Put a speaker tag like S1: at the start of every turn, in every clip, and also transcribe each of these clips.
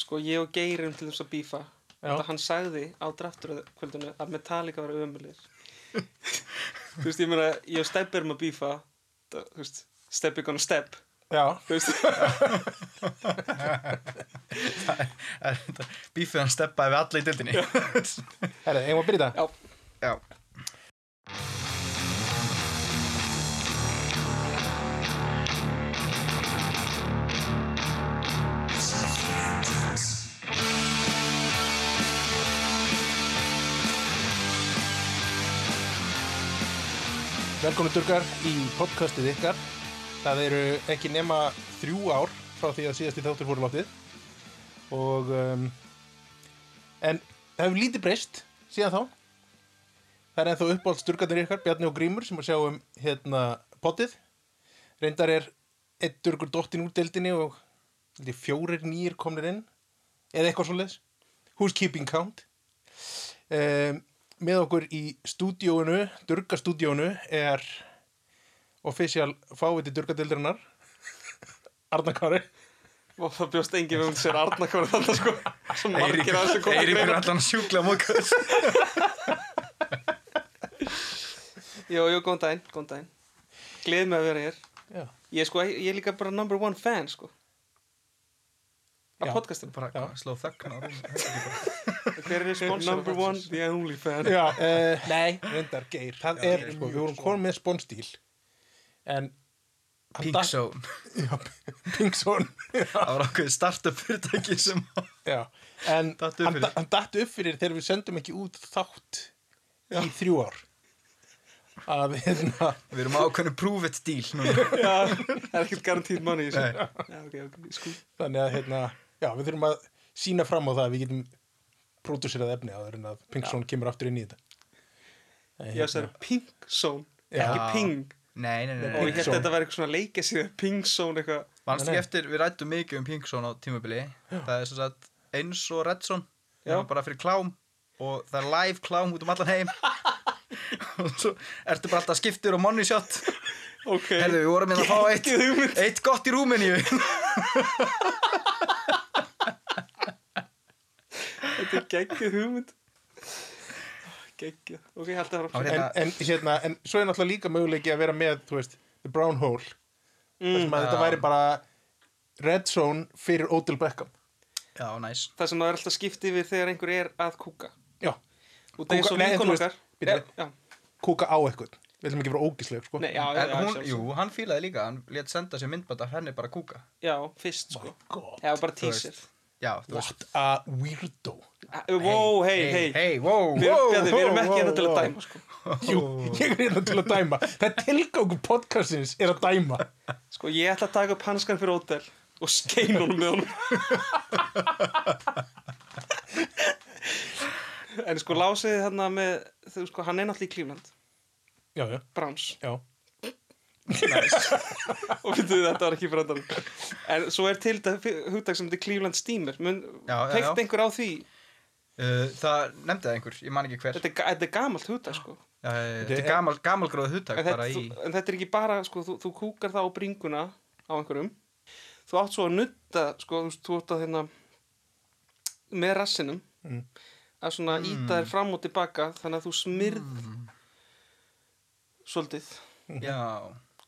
S1: sko ég og Geirum til þess að bífa
S2: Já.
S1: þetta hann sagði á drafturkvöldinu að Metallica var ömulir þú veist ég meina ég og Stebbi erum að bífa það- þú veist Stebbi gonna step
S2: Já,
S1: þú veist
S3: Bífið hann steppaði við alla í dildinni
S2: herri, eigum við að byrja þetta?
S1: já
S3: Já
S2: Velkomin durgar í podcastið ykkar Það eru ekki nema þrjú ár frá því að síðasti þáttur fóru lóttið og um, en það hefur lítið breyst síðan þá Það er ennþá uppáhalds durgarnir ykkar, Bjarni og Grímur sem að sjá um hérna potið Reyndar er einn durgur dottinn úr deildinni og held ég, fjórir nýjir komnir inn eða eitthvað svoleiðis Who's keeping count? um, með okkur í stúdíóinu, durgastúdíóinu er official fáviti durgadildurinnar Arna Kári
S1: og það bjóst enginn um sér Arna hvað var þetta sko svo margir að þessu koma
S3: Eiríkur er allan sjúkla mókur
S1: jú, jú, góðan daginn, góðan daginn gleð mig að vera hér
S2: Já,
S1: ég er sko, ég er líka bara number one fan sko
S2: Já.
S1: af podcastinu
S3: Bara sló þögn á rúm
S1: hver er sponsor number one, the only fan
S2: Já uh, Nei, reyndar geir Það er, sko, við vorum komin með sponsdíl En
S3: Pink Zone
S2: Pinkson
S3: Það var ákveðið startup fyrirtæki sem
S2: Já, en
S3: Datt upp
S2: hann,
S3: fyrir.
S2: hann datt upp fyrir þegar við sendum ekki út þátt í þrjú ár að hérna
S3: Við erum ákveðinu prove it deal núna.
S1: Já, það er ekkert garantíð manni í þessu.
S3: Nei.
S1: Já, ok, ok, sko.
S2: þannig að hérna, já, við þurfum að sína fram á það að við getum pródúserað efni áður en að Pinkson kemur aftur inn í þetta En,
S1: Já, það er Pink Zone,
S2: Já.
S1: ekki Ping.
S3: Nei, nei, nei,
S1: Og
S3: nei.
S1: ég held að þetta væri eitthvað svona leikið síðan, Pink Zone eitthvað.
S3: Manstu
S2: Nei,
S3: ekki
S2: nei.
S3: eftir, við rættum mikið um Pink Zone á tímabili Það er sem sagt eins og Red Zone
S1: Já.
S3: Það er bara fyrir klám Og það er live klám út um allan heim Og svo ertu bara alltaf skiptir og money shot
S1: Ok,
S3: Herðu, við vorum hérna að fá eitt
S1: ekki hugmynd.
S3: Eitt gott í Rúmeníu
S1: Þetta er geggið hugmynd. Geggið. Ok, ég held að það
S3: Það
S1: var
S3: var
S2: en, en, hérna, en svo er náttúrulega líka möguleiki að vera með, þú veist, The Brown Hole mm, þar sem að
S3: Já.
S2: þetta væri bara Red Zone fyrir Odell Beckham
S3: Já, næs
S1: það sem maður er alltaf skipt yfir þegar einhver er að kúka.
S2: já,
S1: Út af eins
S2: Kúka-
S1: og
S2: nei, en þú
S1: vinkon
S2: veist-
S1: okkar. Já,
S2: bíddu.
S1: já.
S2: kúka á eitthvað við ætlum ekki að vera ógisleg, sko
S1: Nei, já, já,
S3: En
S1: já,
S3: hún,
S1: sjálfsagt.
S3: jú, hann fílaði líka, hann lét senda sér myndband af henni bara að kúka
S1: Já, fyrst, sko.
S2: Oh God,
S1: Já, bara
S3: Þú veist.
S1: teaser.
S3: Já, þú veist
S2: What a weirdo
S1: Ah, Wow, hei, hei.
S3: Hei, wow,
S1: Við
S3: wow
S1: Bjarni, við erum
S2: wow,
S1: ekki hérna til að
S2: wow.
S1: dæma, sko.
S2: Jú, ég er hérna til að dæma Það er tilgangu podcastins er að dæma
S1: Sko, ég ætla að taka upp hanskan fyrir Ódel og skein honum með honum. en sko, lásiði þarna með, þú sko, hann er náttúrulega í Cleveland,
S2: Já, já,
S1: Browns,
S2: já
S1: og við þau þetta var ekki brandarinn. En svo er til þetta hugdag sem þetta er Cleveland Steamer. Mun,
S3: Já, já,
S1: peikt
S3: já.
S1: einhver á því,
S3: Uh, Það nefndi það einhver, ég man ekki hver
S1: þetta er, ga- þetta er gamalt hugdag, sko.
S3: Já, Þetta er
S2: Þetta-
S3: gamal, gamalgróð hugtak
S1: En þetta,
S3: bara í
S1: þú, en þetta er ekki bara, sko, þú, þú kúkar það á bringuna á einhverjum. Þú átt svo að nutta, sko, þú, veist, þú átt að hérna með rassinum að svona mm. íta þér fram og tilbaka þannig að þú smyrð
S3: Mm.
S1: svolítið
S3: Já,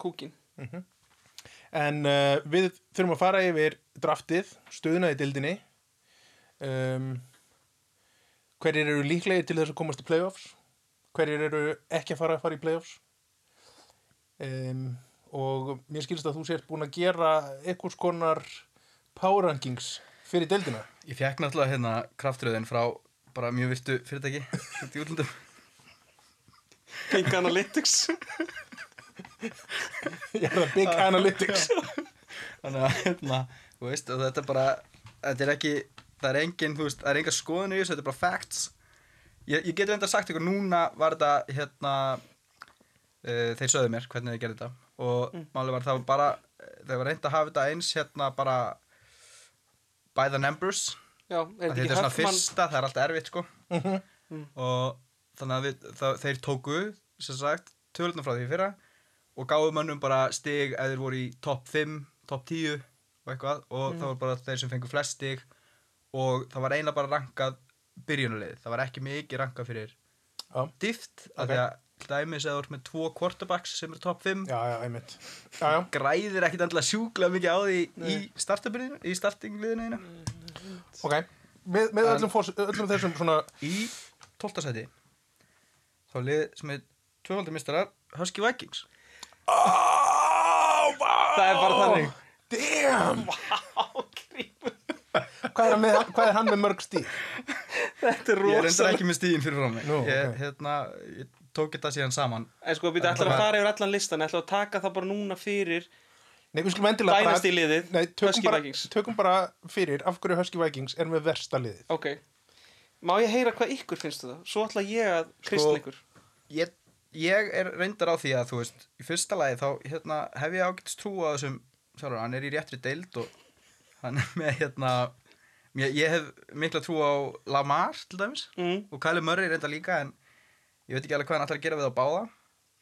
S1: kúkin.
S2: En uh, við þurfum að fara yfir draftið, stöðuna í dildinni um, Hverjir eru líklegir til þess að komast í playoffs Hverjir eru ekki að fara að fara í playoffs um, Og mér skilst að þú sért búin að gera einhvers konar power rankings fyrir dildina
S3: ég fekk náttúrulega hérna kraftröðin frá bara mjög virtu fyrirtæki út í útlundum
S1: Pink Analytics.
S2: Ég er það big analytics
S3: Þannig að hérna, þú veist, og þetta er bara, þetta er ekki, það er engin, þú veist, það er enga skoðinu í þessu, þetta er bara facts Ég, ég getur enda sagt ykkur, núna var þetta, hérna, uh, þeir sögðu mér hvernig þið gerðu þetta Og málið var það var bara, eh, þau var reynd að hafa þetta eins, hérna, bara by the numbers
S1: Já, er
S3: Þetta
S1: þetta
S3: er
S1: ekki
S3: svona
S1: Huffman?
S3: fyrsta, það er alltaf erfitt sko Og þannig að við, það, þeir tóku, sem sagt, tölunum frá því í fyrra Og gáðu mönnum bara stig eða þeir voru í topp 5, topp 10 og eitthvað Og það voru bara þeir sem fengu flest stig og það var eiginlega bara rankað byrjunarlið, það var ekki mikið rankað fyrir
S2: Já.
S3: dýft
S2: Ok.
S3: af því að til dæmis eða þú ert með tvo quarterbacks sem eru top 5
S2: já, já, einmitt já, já,
S3: græðir ekkit endilega sjúklega mikið á því í
S1: Nei.
S3: startup-liðinu, í startingliðinu einu
S2: ok með, með öllum, fórs, öllum þessum svona
S3: í 12. seti þá er lið sem er tvöfaldir mistarar Husky Vikings
S2: oh, wow.
S1: Það er bara þannig.
S2: damn,
S1: grímur.
S2: hvað er, hann með, hvað er hann með mörg stíl
S1: Þetta er
S3: ég er
S1: rosa
S3: reyndar ekki með stíðin fyrir frá mig
S2: Nú,
S3: ég,
S2: ok.
S3: hérna, ég tók þetta síðan saman
S1: En sko, við ætlum að fara yfir allan listan ætlum að taka það bara núna fyrir
S2: Nei, við skulum endilega bara-
S1: Dynasty liðið,
S2: Nei, tökum
S1: Husky
S2: bara,
S1: Vikings.
S2: tökum bara fyrir af hverju Husky Vikings er með versta liðið
S1: Ok Má ég heyra hvað ykkur finnst um það? Svo ætla ég að
S3: Sko,
S1: kristna ykkur
S3: ég, ég er reyndar á því að þú veist í fyrsta lagi þá hérna, hef ég ágætist trú á þessum sjálfur, hann er í réttri deild og hann er með hérna ég, ég hef mikla trú á Lamar til dæmis
S1: mm,
S3: og Kæli Murray reyndar líka en ég veit ekki alveg hvað hann ætlar að gera við á báða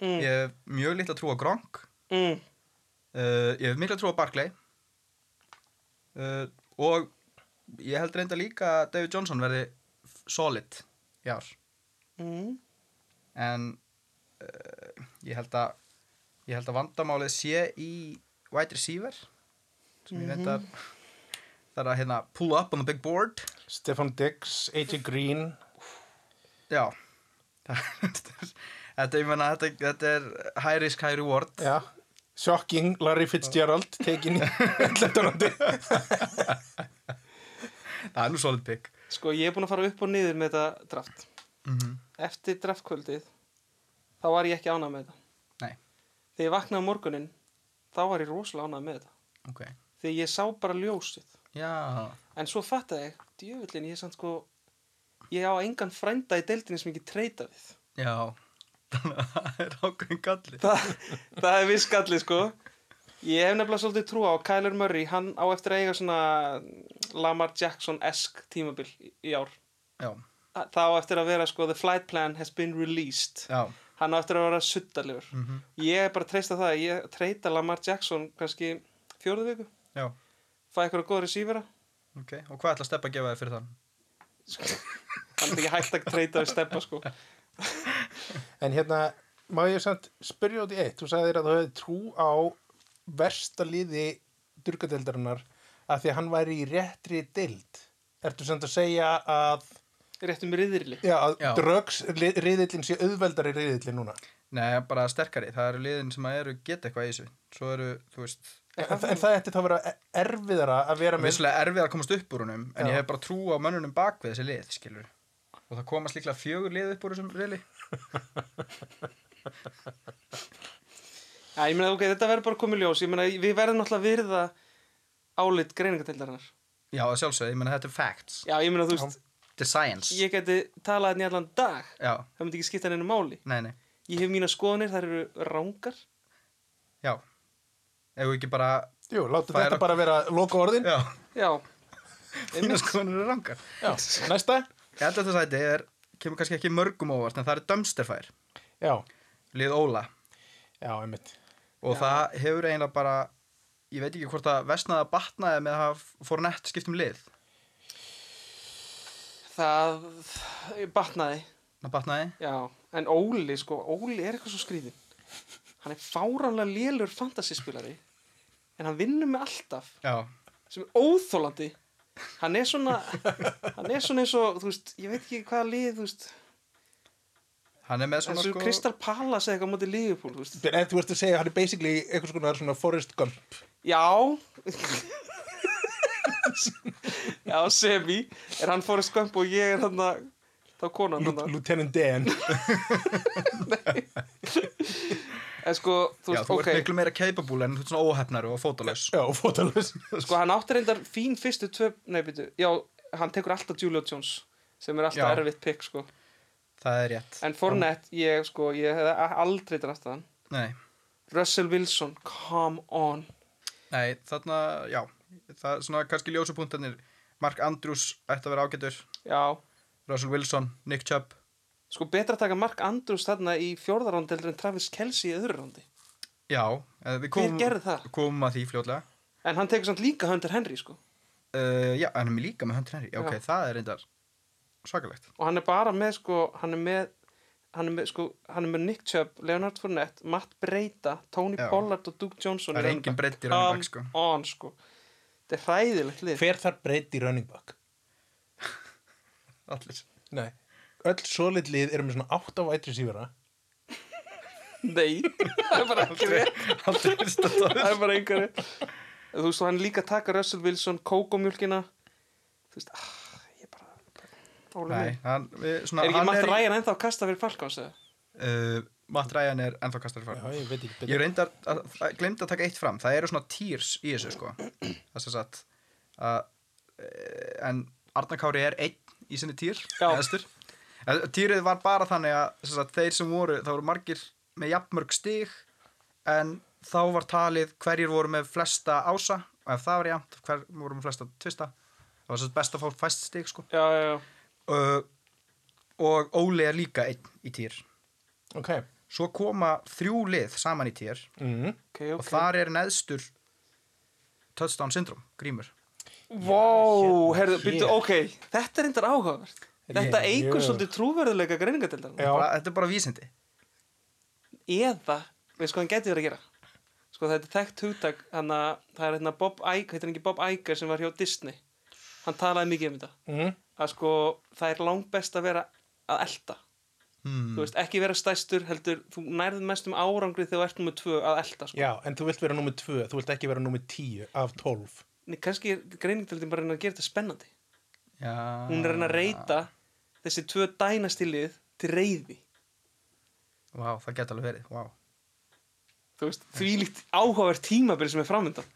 S1: mm,
S3: ég hef mjög litla trú á Gronk
S1: mm.
S3: Uh, ég hef mikla trú á Barclay uh, og ég held reynda líka að David Johnson verði f- solid í ár
S1: Mm.
S3: en uh, ég held að ég held að vandamálið sé í wide receiver sem ég reyndar það er að hérna pull up on the big board
S2: Stefan Diggs, AJ Green
S3: já þetta, ég menna, þetta, þetta er high risk, high reward
S2: Já Shocking, Larry Fitzgerald tekin í hluturandi
S3: það er nú solid pick
S1: Sko, ég er búin að fara upp og niður með þetta draft
S3: mm
S1: Eftir draftkvöldið þá var ég ekki ánað með þetta
S3: Nei.
S1: Þegar ég vaknaði á morgunin þá var ég rosalega ánað með þetta
S3: ok,
S1: Þegar ég sá bara ljósið
S3: já
S1: En svo fattaði ég, djöfullin, ég er samt sko Ég á engan frænda í deildinni sem ég ekki treyta við
S3: Já, þannig að það er ákveðin galli.
S1: Þa, það er viss gallið sko Ég hef nefnilega svolítið trú á að Kyler Murray, hann á eftir að eiga svona Lamar Jackson-esk tímabil í- í ár.
S3: Já,
S1: Þa- Það á eftir að vera sko, the flight plan has been released.
S3: já,
S1: Hann á eftir að vera suttalegur.
S3: Mhm.
S1: Ég er bara að treysta það, ég treyta Lamar Jackson kannski fjórðu viku,
S3: já,
S1: fæ eitthvað góð resývera.
S3: ok. Og hvað ætla að steppa að gefa þér fyrir þann?
S1: Sko, hann er ekki hægt að treyta við steppa sko.
S2: En hérna, má ég samt spyrja út í eitt Þú sagðir að þú hefði trú á versta liði durgadeildarinnar að því að hann væri í réttri deild Ertu samt að segja að,
S1: Réttum riðirli.
S2: já, að
S3: Já.
S2: drögs riðillin sé auðveldari riðillin núna
S3: Nei, bara sterkari. Það eru liðin sem að eru geta eitthvað í þessu. Svo eru, þú veist,
S2: En, en það ætti þá að vera e- erfiðara að vera með
S3: vissulega erfið að komast upp úr húnum, en
S2: Já.
S3: ég hef bara trú á mönnunum bak við þessi lið, skilur. Og það komast líklega fjögur lið upp úr þessum riðli.
S1: Já, ég meina, ok, þetta verður bara komið ljós. Ég meina, við verðum náttúrulega að virða álit greiningatildarinnar.
S3: Já, að sjálfsögðu, ég menna þetta er facts.
S1: Já, ég meina, þú veist,
S3: Þetta er science.
S1: ég geti talað hérna í allan dag
S3: Já,
S1: það myndi ekki skipta henni máli
S3: nei, nei,
S1: ég hef mína skoðanir, þær eru rángar
S3: já. Ef við ekki bara,
S2: Jú, láta
S3: Færa-
S2: þetta bara vera loka orðin
S3: já,
S1: já,
S3: fína skoðanur eru rangar.
S2: Já. Næsta?
S3: Ég held að þetta sæti er, kemur kannski ekki mörgum óvart, en það er dumpsterfær,
S2: Já,
S3: lið Óla.
S2: já, einmitt
S3: og það hefur eiginlega bara ég veit ekki hvort það vesnaði að batnaði með að hafa fór nett skipt um lið
S1: það batnaði
S3: það batnaði
S1: já. en Óli, sko, Óli er eitthvað svo skrýðin hann er fáránlega lélur fantasyspilari en hann vinnur með alltaf
S3: já,
S1: sem er óþólandi hann er svona hann er svona eins og, þú veist, ég veit ekki hvaða lið þú veist,
S3: hann er með svona sko-
S1: eins og Kristal Palace eða eitthvað á móti Liverpool, þú veist
S2: En þú ert að segja að hann er basically eitthvað svona, svona Forrest Gump
S1: Já Já, semi Er hann Forrest Gump og ég er hann þá konan
S2: Lut-
S1: hann
S2: Lieutenant Dan
S1: En sko, þú
S3: já,
S1: veist,
S3: þú
S1: ok
S3: ert miklu meira capable en þú ert svona óhefnar og fótalös
S2: Já, fótalus
S1: Sko, hann átti reyndar fín fyrstu tvö Nei, byrju, já, hann tekur alltaf Julio Jones sem er alltaf
S3: Já.
S1: erfitt pick, sko
S3: það er rétt
S1: En Fournette, ég, sko, ég hefði a- aldrei drasta hann
S3: nei,
S1: Russell Wilson, come on
S3: nei, þarna, já það er svona kannski ljósupunktanir Mark Andrews ætti að vera ágætur
S1: Já,
S3: Russell Wilson, Nick Chubb
S1: sko, betra að taka Mark Andrews þarna í fjórðarándi heldur en Travis Kelsey í öðru rándi
S3: já, eh, við
S1: Hver
S3: komum,
S1: gerði það?
S3: komum að því fljótlega
S1: En hann tekur samt líka Hunter Henry, sko
S3: uh, já, hann er mér líka með hönd henni já, ok,
S1: Já.
S3: það er reyndar svakalegt
S1: og hann er bara með sko, hann er með hann er með, sko, hann er með Nick Chubb, Leonard Fournette Matt Breida, Tony
S3: Já.
S1: Pollard og Duke Johnson
S3: það
S1: í
S3: er
S1: running
S3: engin
S1: back.
S3: breytt í running back sko
S1: Come on, sko. þetta er hræðilegt lið
S2: Hver þarf breytt í running back?
S3: allir
S2: Nei. Öll solid lið eru með svona 8 vætri sífara.
S1: nei, það er bara ekki rétt
S3: allir er
S1: það
S3: stáður
S1: er bara einhverju þú veist, og hann líka taka Russell Wilson kókomjölkina þú veist, ah, ég bara, bara ólega
S3: nei,
S1: mig.
S3: hann við, svona,
S1: er ekki
S3: hann
S1: Matt
S3: í-
S1: Ryan ennþá að kasta fyrir Falcons eða?
S3: uh, Matt Ryan er ennþá kastari fram
S2: ég veit ekki
S3: ég reyndar að, að glemd að taka eitt fram það eru svona tiers í þessu sko það sem sagt að, eh, en Arnar Kári er einn í sinni týr
S1: Já.
S3: týrið var bara þannig að sem sagt, þeir sem voru, það voru margir með jafnmörg stig en þá var talið hverjir voru með flesta ása og ef það var jafnt, hver voru með flesta tvista það var sem sagt best að fá fæst stig sko
S1: já, já, já,
S3: uh, og Óli er líka einn í týr
S2: Ok.
S3: svo koma þrjú lið saman í týr
S2: Mm.
S1: ok,
S3: og
S1: ok
S3: þar er neðstur touchdown syndrom, grímur
S1: wow, herðu,
S2: Hér.
S1: byrju, ok þetta er eindir áhugavert þetta
S2: Ég-
S1: eigur
S2: ég-
S1: svolítið trúverðuleika greiningatildarinn
S2: Já.
S3: bara, þetta er bara vísindi
S1: eða, veist hvað hann gæti verið að gera sko þetta er þekkt hugtak þannig að það er hérna Bob Iger heitir hann ekki Bob Iger sem var hjá Disney hann talaði mikið um þetta
S2: Mm.
S1: að sko það er langt best að vera að elta
S3: hmm.
S1: þú veist, ekki vera stæstur heldur, þú nærðu mest um árangri þegar þú ert nummið tvö að elta sko.
S2: Já, en þú vilt vera nummið 2, þú vilt ekki vera nummið 10 af 12.
S1: Nei, kannski er greiningdeldin bara að reyna að gera þetta spennandi
S3: Já,
S1: hún er að reyna að reyta þessi tvö dænastilið til reyði
S3: Vá, það geta alveg verið, vá
S1: þú veist, því líkt áhugaverð tímabil sem er framöndan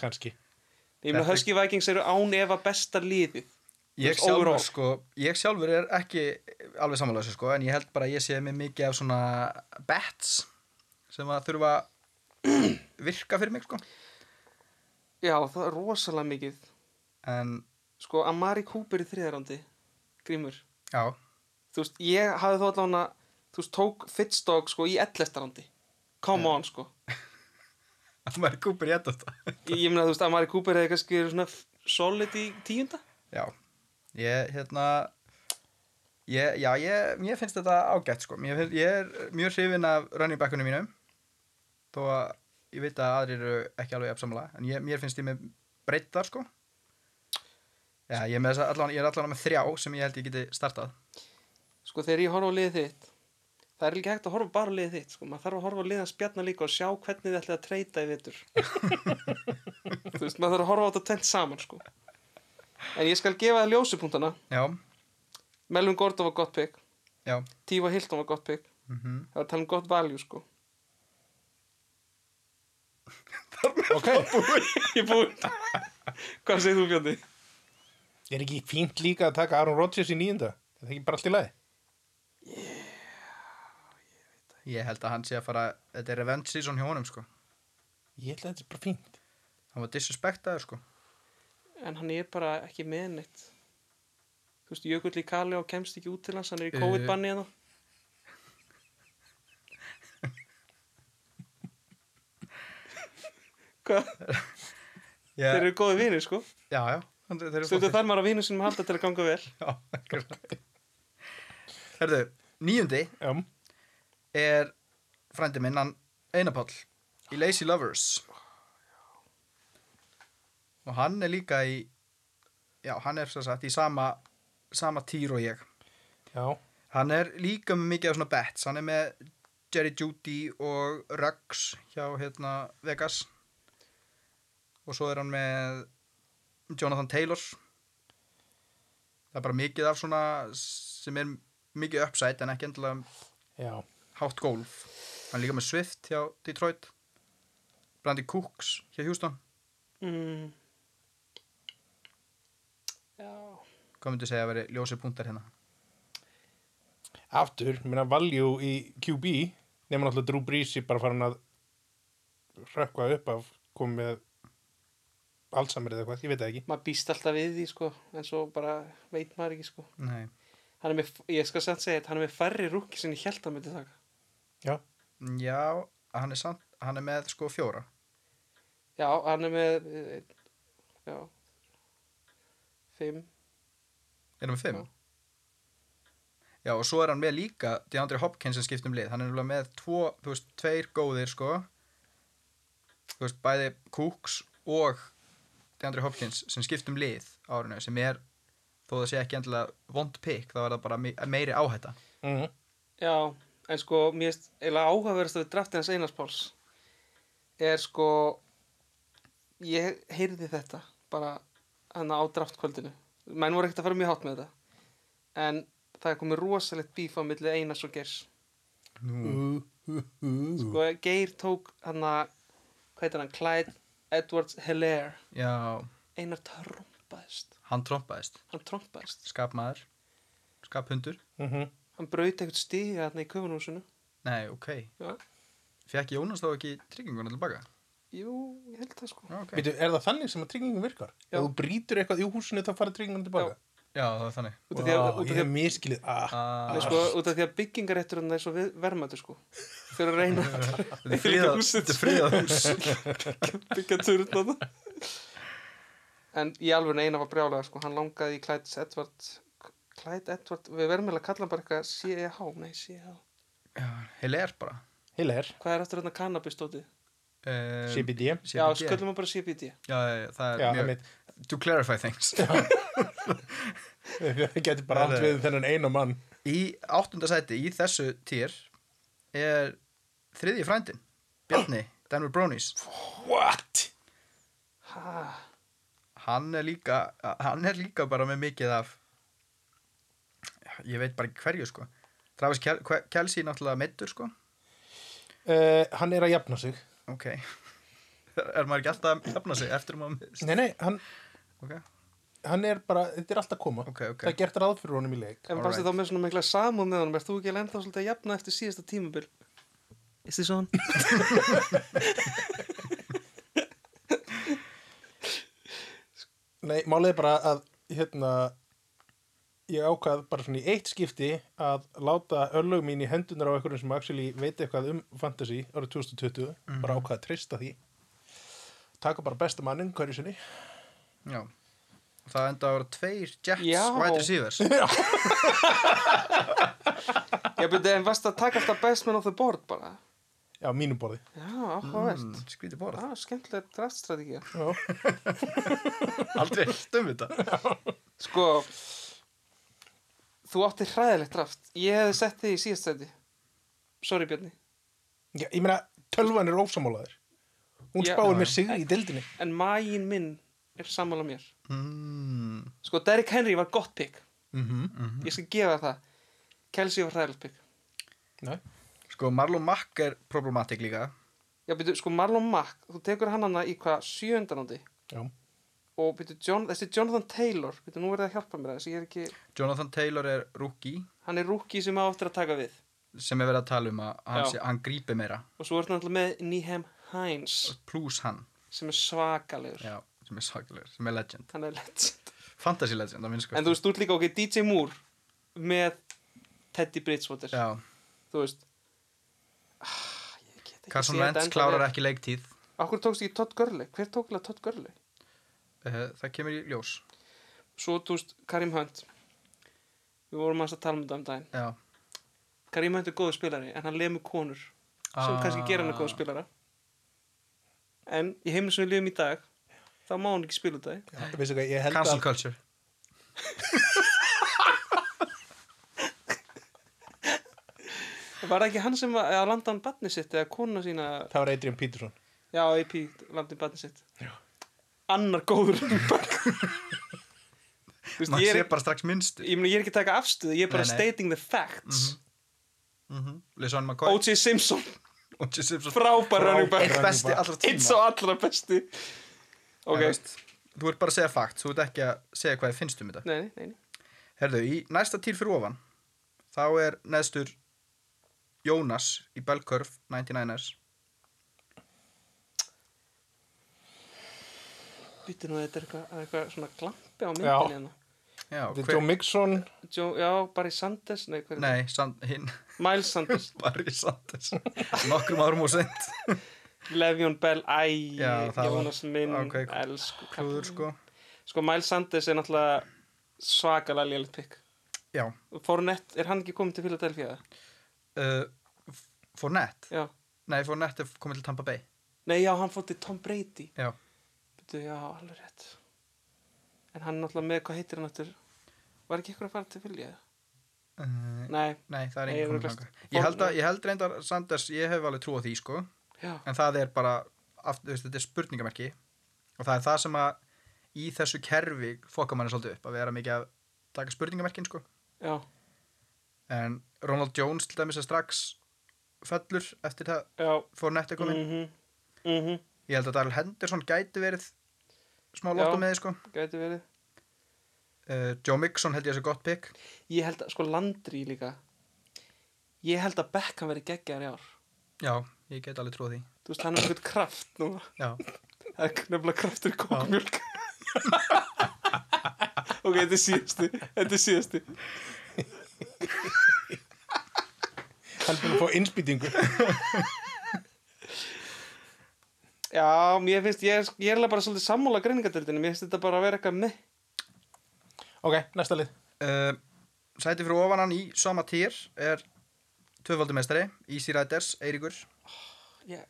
S2: Kanski.
S1: ég meina
S3: Þetta-
S1: Husky Vikings eru án efa besta liðið
S3: Ég
S1: Þú veist, overall.
S3: sjálfur, sko, ég sjálfur er ekki alveg samanlega sko, en ég held bara að ég sé mig mikið af svona bets sem að þurfa að virka fyrir mig sko.
S1: já, það er rosalega mikið
S3: en
S1: sko, Amari Cooper í þriðarándi grímur,
S3: já,
S1: þú veist, ég hafði þó allan að þú veist, tók Fitzdog sko í 11. rándi come on sko
S3: að maður kúpir ég þetta
S1: Ég, ég meina, þú veist, Amari Cooper hefði kannski verið svona f- solid í tíunda.
S3: Já, ég, hérna, ég, já, ég, mér finnst þetta ágætt, sko. Mér, finn- ég er mjög hrifinn af running backunum mínum, þó að ég veit að aðrir eru ekki alveg uppsamlega, en ég, mér finnst ég með breyttar, sko. Já, ég er, með þessa, allan, ég er allan með þrjá sem ég held ég geti startað.
S1: Sko, þegar ég horfa á liðið þitt, það er ekki hægt að horfa bara á liðið þitt, sko. Maður þarf að horfa á liðið að spjarna líka og sjá hvernig þið ætlaði að treyta í vittur. þú veist, maður þarf að horfa á þetta tent saman, sko. En ég skal gefa það ljósupunktana.
S3: Já,
S1: Melvin Gordon var gott pick.
S3: já,
S1: Tífa Hilton var gott pick.
S3: mhm.
S1: Það var að tala um gott value, sko.
S2: Ok.
S1: ég búið. Hvað segir þú, Björni?
S2: Er ekki fínt líka að taka Aaron Rodgers í nýjunda? Er það ekki bara allt í lagi?
S3: Ég held að hann sé að fara, þetta er revenge season hjá honum, sko.
S2: Ég held að þetta er bara fínt.
S3: Hann var disrespektaður, sko.
S1: En hann er bara ekki með neitt. Þú veist, Jökull í Kali og kemst ekki út til hans, hann er í
S3: Eh.
S1: COVID-banni hérna. Hvað?
S3: Eh.
S1: Þeir
S3: Ég,
S1: eru góði vinir, sko.
S3: já, já, hann- þeir eru
S1: Stundu
S3: flottir.
S1: þar maður að vinur sinum að halda til að ganga vel.
S3: Já, akkurat. Herðu, níundi
S2: Já.
S3: er frændi minn, hann Einarpall í Lazy Lovers og hann er líka í já, hann er sem sagt í sama sama týr og ég
S2: Já.
S3: hann er líka með mikið af svona bets hann er með Jerry Judy og Ruggs hjá hérna Vegas og svo er hann með Jonathan Taylor það er bara mikið af svona sem er mikið uppsætt en ekki endilega
S2: Já.
S3: hátt gólf hann er líka með Swift hjá Detroit Brandi Cooks hjá Houston
S1: Mm. Já.
S3: hvað myndi segja að veri ljósið punktar hérna
S2: Aftur, minna value í QB, nema náttúrulega Drew Brees er bara farin að rökkva upp af komið með Alzheimer eða eitthvað, ég veit það ekki.
S1: Maður býst alltaf við því, sko, en svo bara veit maður ekki, sko.
S3: Nei.
S1: Hann er með, ég skal samt segja þetta, hann er með færri rúki sem ég held að myndi taka.
S2: Já.
S3: já, hann er, samt, hann er með sko fjóra
S1: Já, hann er með, eh, já, 5
S3: Erum við fimm?
S1: Já.
S3: Já, og svo er hann með líka DeAndre Hopkins sem skipt um lið. Hann er nefnilega með tvo, þú veist, tveir góðir, sko. Þú veist, bæði Cooks og DeAndre Hopkins sem skipt um lið á árinu, sem er, þó það sé ekki endilega vond pick, þá er það bara me- meiri áhætta.
S2: mm.
S1: já, en sko mér erst eiginlega áhugaverðast að við draftið hans Einars Páls er sko ég heyrði þetta bara hann á draftkvöldinu menn voru ekkert að fara mjög hátt með þetta en það er komið rosalegt bíf á milli Einars og Geirs
S3: Nú.
S2: uh, uh, uh.
S1: sko Geir tók hann að hvað heitir hann, Clyde Edwards Hilaire
S3: Já,
S1: Einar trompaðist
S3: hann trompaðist.
S1: hann trompaðist,
S3: Skapmaður. Skaphundur.
S2: Mhm.
S1: hann braut eitthvað stiga þarna í köfunhúsinu
S3: Nei, ok.
S1: já,
S3: Fekk Jónas þá ekki trygginguna til baka?
S1: jú, ég held það sko
S3: Já, ok.
S2: Veitu, er það þannig sem að tryggingum virkar?
S1: Já.
S2: Ef þú brýtur eitthvað í húsinu þá fara tryggingum tilbaka?
S3: Já, það var þannig.
S1: út af því að, út
S2: Vá,
S1: af
S2: ég
S1: því
S2: hef
S1: að,
S2: miskilið ah.
S1: nei,
S3: Ah,
S1: sko, út af því að byggingaréttur hann er svo við, vermaður sko fyrir að reyna að
S3: þetta er friðað- þetta er friðað hús.
S1: byggja turn á en í alveg Einar var brjálega sko hann langaði í Clyde Edward Clyde Edward, við verðum eiginlega að kalla hann bara eitthvað CH, nei CH
S3: Hilaire bara
S2: Heila er
S1: hvað er eftir hérna kannabistótið?
S3: um,
S2: CBD Já,
S1: Já, sköllum hann bara CBD
S3: já, já, já, það er
S2: það
S3: mjög
S2: mitt
S3: To clarify things
S2: Það getur bara allt
S3: Nei, nei.
S2: við þennan einu mann
S3: Í áttunda sæti, í þessu týr er þriðji frændin Bjarni, Denver Bronies
S2: What?
S1: hæ,
S3: Hann er líka hann er líka bara með mikið af ég veit bara ekki hverju sko Travis Kel Ke- Kelsey náttúrulega meittur sko
S2: Uh, hann er að jafna sig
S3: ok er maður ekki alltaf að jafna sig eftir um að maður mist
S2: Nei, nei, hann,
S3: ok,
S2: hann er bara, þetta er alltaf að koma
S3: ok, ok
S2: Það er gert ráð fyrir honum í leik
S1: En fannst þið þá með svona mikla samúð með honum, er þú ekki alveg ennþá svolítið að jafna eftir síðasta tímabil? Is this on?
S2: Nei, málið er bara að hérna, ég ákvað bara svona í eitt skipti að láta örlög mín í hendunar á einhverjum sem actually veit eitthvað um fantasy árið 2020,
S3: Mhm.
S2: bara ákvað að treysta því taka bara besta mannin hverju sinni
S3: já það enda að vera tveir Jets
S1: Já.
S3: wide receivers
S1: Ég byrja, en varst að taka alltaf best man of the board bara?
S2: Já, mínum borði
S1: Já, áhugavert.
S3: Mm, skrítið borð
S1: Já, skemmtilega draftstrategía.
S2: Já,
S3: Aldrei stum við þetta
S1: Sko, þú átti hræðilegt draft. Ég hefði sett þig í síðast sæti. Sorry Björni.
S2: Já ég meina, tölvan er ósamálaður Hún
S1: Já.
S2: spáir
S3: Já,
S2: mér
S3: já.
S2: sigri í deildinni
S1: En magin minn er sammála mér.
S3: mm,
S1: Sko, Derrick Henry var gott pick.
S2: mm
S3: mhm,
S1: Ég skal gefa þér það. Kelsey var hræðilegt pick.
S2: Nei,
S3: Sko Marlon Mack er problematik líka
S1: Já, byrju, sko, Marlon Mack, þú tekur hann hana í hvað sjöndanándi
S2: já
S1: og byrju, John, þessi Jonathan Taylor, byrju, nú verðið að hjálpa mér að þessi, ég er ekki...
S3: Jonathan Taylor er rookie
S1: hann er rúki sem á eftir að taka við
S3: sem er verið að tala um að hann,
S1: Já.
S3: sé, hann grípi meira
S1: og svo er hann alltaf með Niham Hines
S3: plus hann
S1: sem er svakalegur
S3: já, sem er saklegur, sem er legend
S1: hann er legend
S3: fantasy legend, það minnst
S1: en þú veist, þú ert líka ok, DJ Moore með Teddy Bridgewater
S3: já,
S1: þú veist ah, ég get ekki
S3: Carson
S1: séð þetta
S3: Wentz
S1: ennþá
S3: klárar
S1: vel.
S3: ekki leiktíð
S1: Af hverju tókst ekki Todd Gurley, hver tók alveg Todd Gurley
S3: uh, það kemur í ljós
S1: svo þú veist, Karim Hunt við vorum aðeins að tala um þetta um daginn
S3: já,
S1: Karim Hunt er góður spilari, en hann lemur konur sem
S3: Ah.
S1: kannski gera hann að góða spilara en í heiminn sem við lifum í dag þá má hann ekki spila út af því
S2: Veistu hvað, ég held
S3: cancel
S2: að
S3: culture
S1: Var það ekki hann sem að, að landa hann batni sitt eða kona sína,
S2: það var Adrian Peterson
S1: já, AP landi batni sitt já. annar góður running-back. Þú veist,
S3: mann
S1: ég,
S3: sé
S1: er,
S3: bara strax minnstu
S1: ég, meni, ég er ekki að taka afstöðu ég er bara
S3: Nei, Mhm. nei.
S1: stating the facts
S3: mm -hmm. Leson McCoy
S1: O.J. Simpson,
S3: O.J. Simpson
S1: frábær running
S3: eitt
S1: back
S2: running
S3: besti
S2: back.
S3: allra tíma
S1: eitt svo allra besti
S3: En
S1: ok,
S3: þú veist, þú ert bara að segja fakt, þú ert ekki að segja hvað þið finnst um þetta
S1: nei, nei, nei, nei.
S3: Herðu, í næsta týr fyrir ofan þá er neðstur Jónas í Belkörf 99ers
S1: býttu nú þetta er eitthvað, það er eitthvað svona glampi á
S2: Já.
S1: myndinni hérna
S3: Já,
S2: Þetta er Joe Mixon
S1: Joe- já, Barry Sanders, nei, hver er
S3: Nei, sand, hinn
S1: það? Miles Sanders,
S3: Barry Sanders Nokkrum árum og sent
S1: Le'Veon Bell æ,
S3: Já, það var
S1: Jónas minn
S3: ákveðið
S1: elsku
S3: Klúður
S1: kallinn.
S3: sko
S1: sko Miles Sanders er náttúrulega svakalega lélitt pikk
S3: Já,
S1: Fournette, er hann ekki komið til Philadelphia?
S3: uh, F- Fournette
S1: Já,
S3: Nei, Fournette er komið til Tampa Bay
S1: nei já, hann fótti Tom Brady
S3: Já,
S1: Byrju, já, alveg rétt En hann er náttúrulega með, hvað heitir hann aftur? Var ekki ykkur að fara til Philly? eða?
S3: uh,
S1: Nei,
S3: nei, það er
S1: Nei, ég
S3: engin komið
S1: ruglast.
S3: langa ég held, að, ég held reyndar, Sanders, ég hef alveg trú á því, sko
S1: já,
S3: En það er bara, aftur, veist, þetta er spurningamerki Og það er það sem að í þessu kerfi fokka manni svolítið upp Að vera mikið að taka spurningamerkin, sko
S1: já,
S3: En Ronald Jones til dæmis er strax fellur eftir það
S1: já
S3: Fournette er komið
S1: mhm, mhm,
S3: Ég held að Darrell Henderson gæti verið smá
S1: Já.
S3: lottum með því sko.
S1: gæti verið
S3: Uh, Joe Mixon held ég að sé gott pick.
S1: Ég held að, sko, Landry líka Ég held að Beckham verið geggjar í ár
S3: Já, ég get alveg trúið því.
S1: Þú veist, hann er eitthvað kraft núna
S3: Já.
S1: Það er nefnilega kraftur í kókmjölk Ok, þetta er síðasti Þetta er síðasti
S2: Hann er búin að fá innspýtingu
S1: Já, mér finnst, ég er, ég er eiginlega bara svolítið sammála greiningadeldinu, mér finnst þetta bara að vera eitthvað með
S2: Ok, næsta lið
S3: Uh, sæti fyrir ofan hann í sama týr er tvöfaldumestari, Easy Riders, Eiríkur.
S1: ég,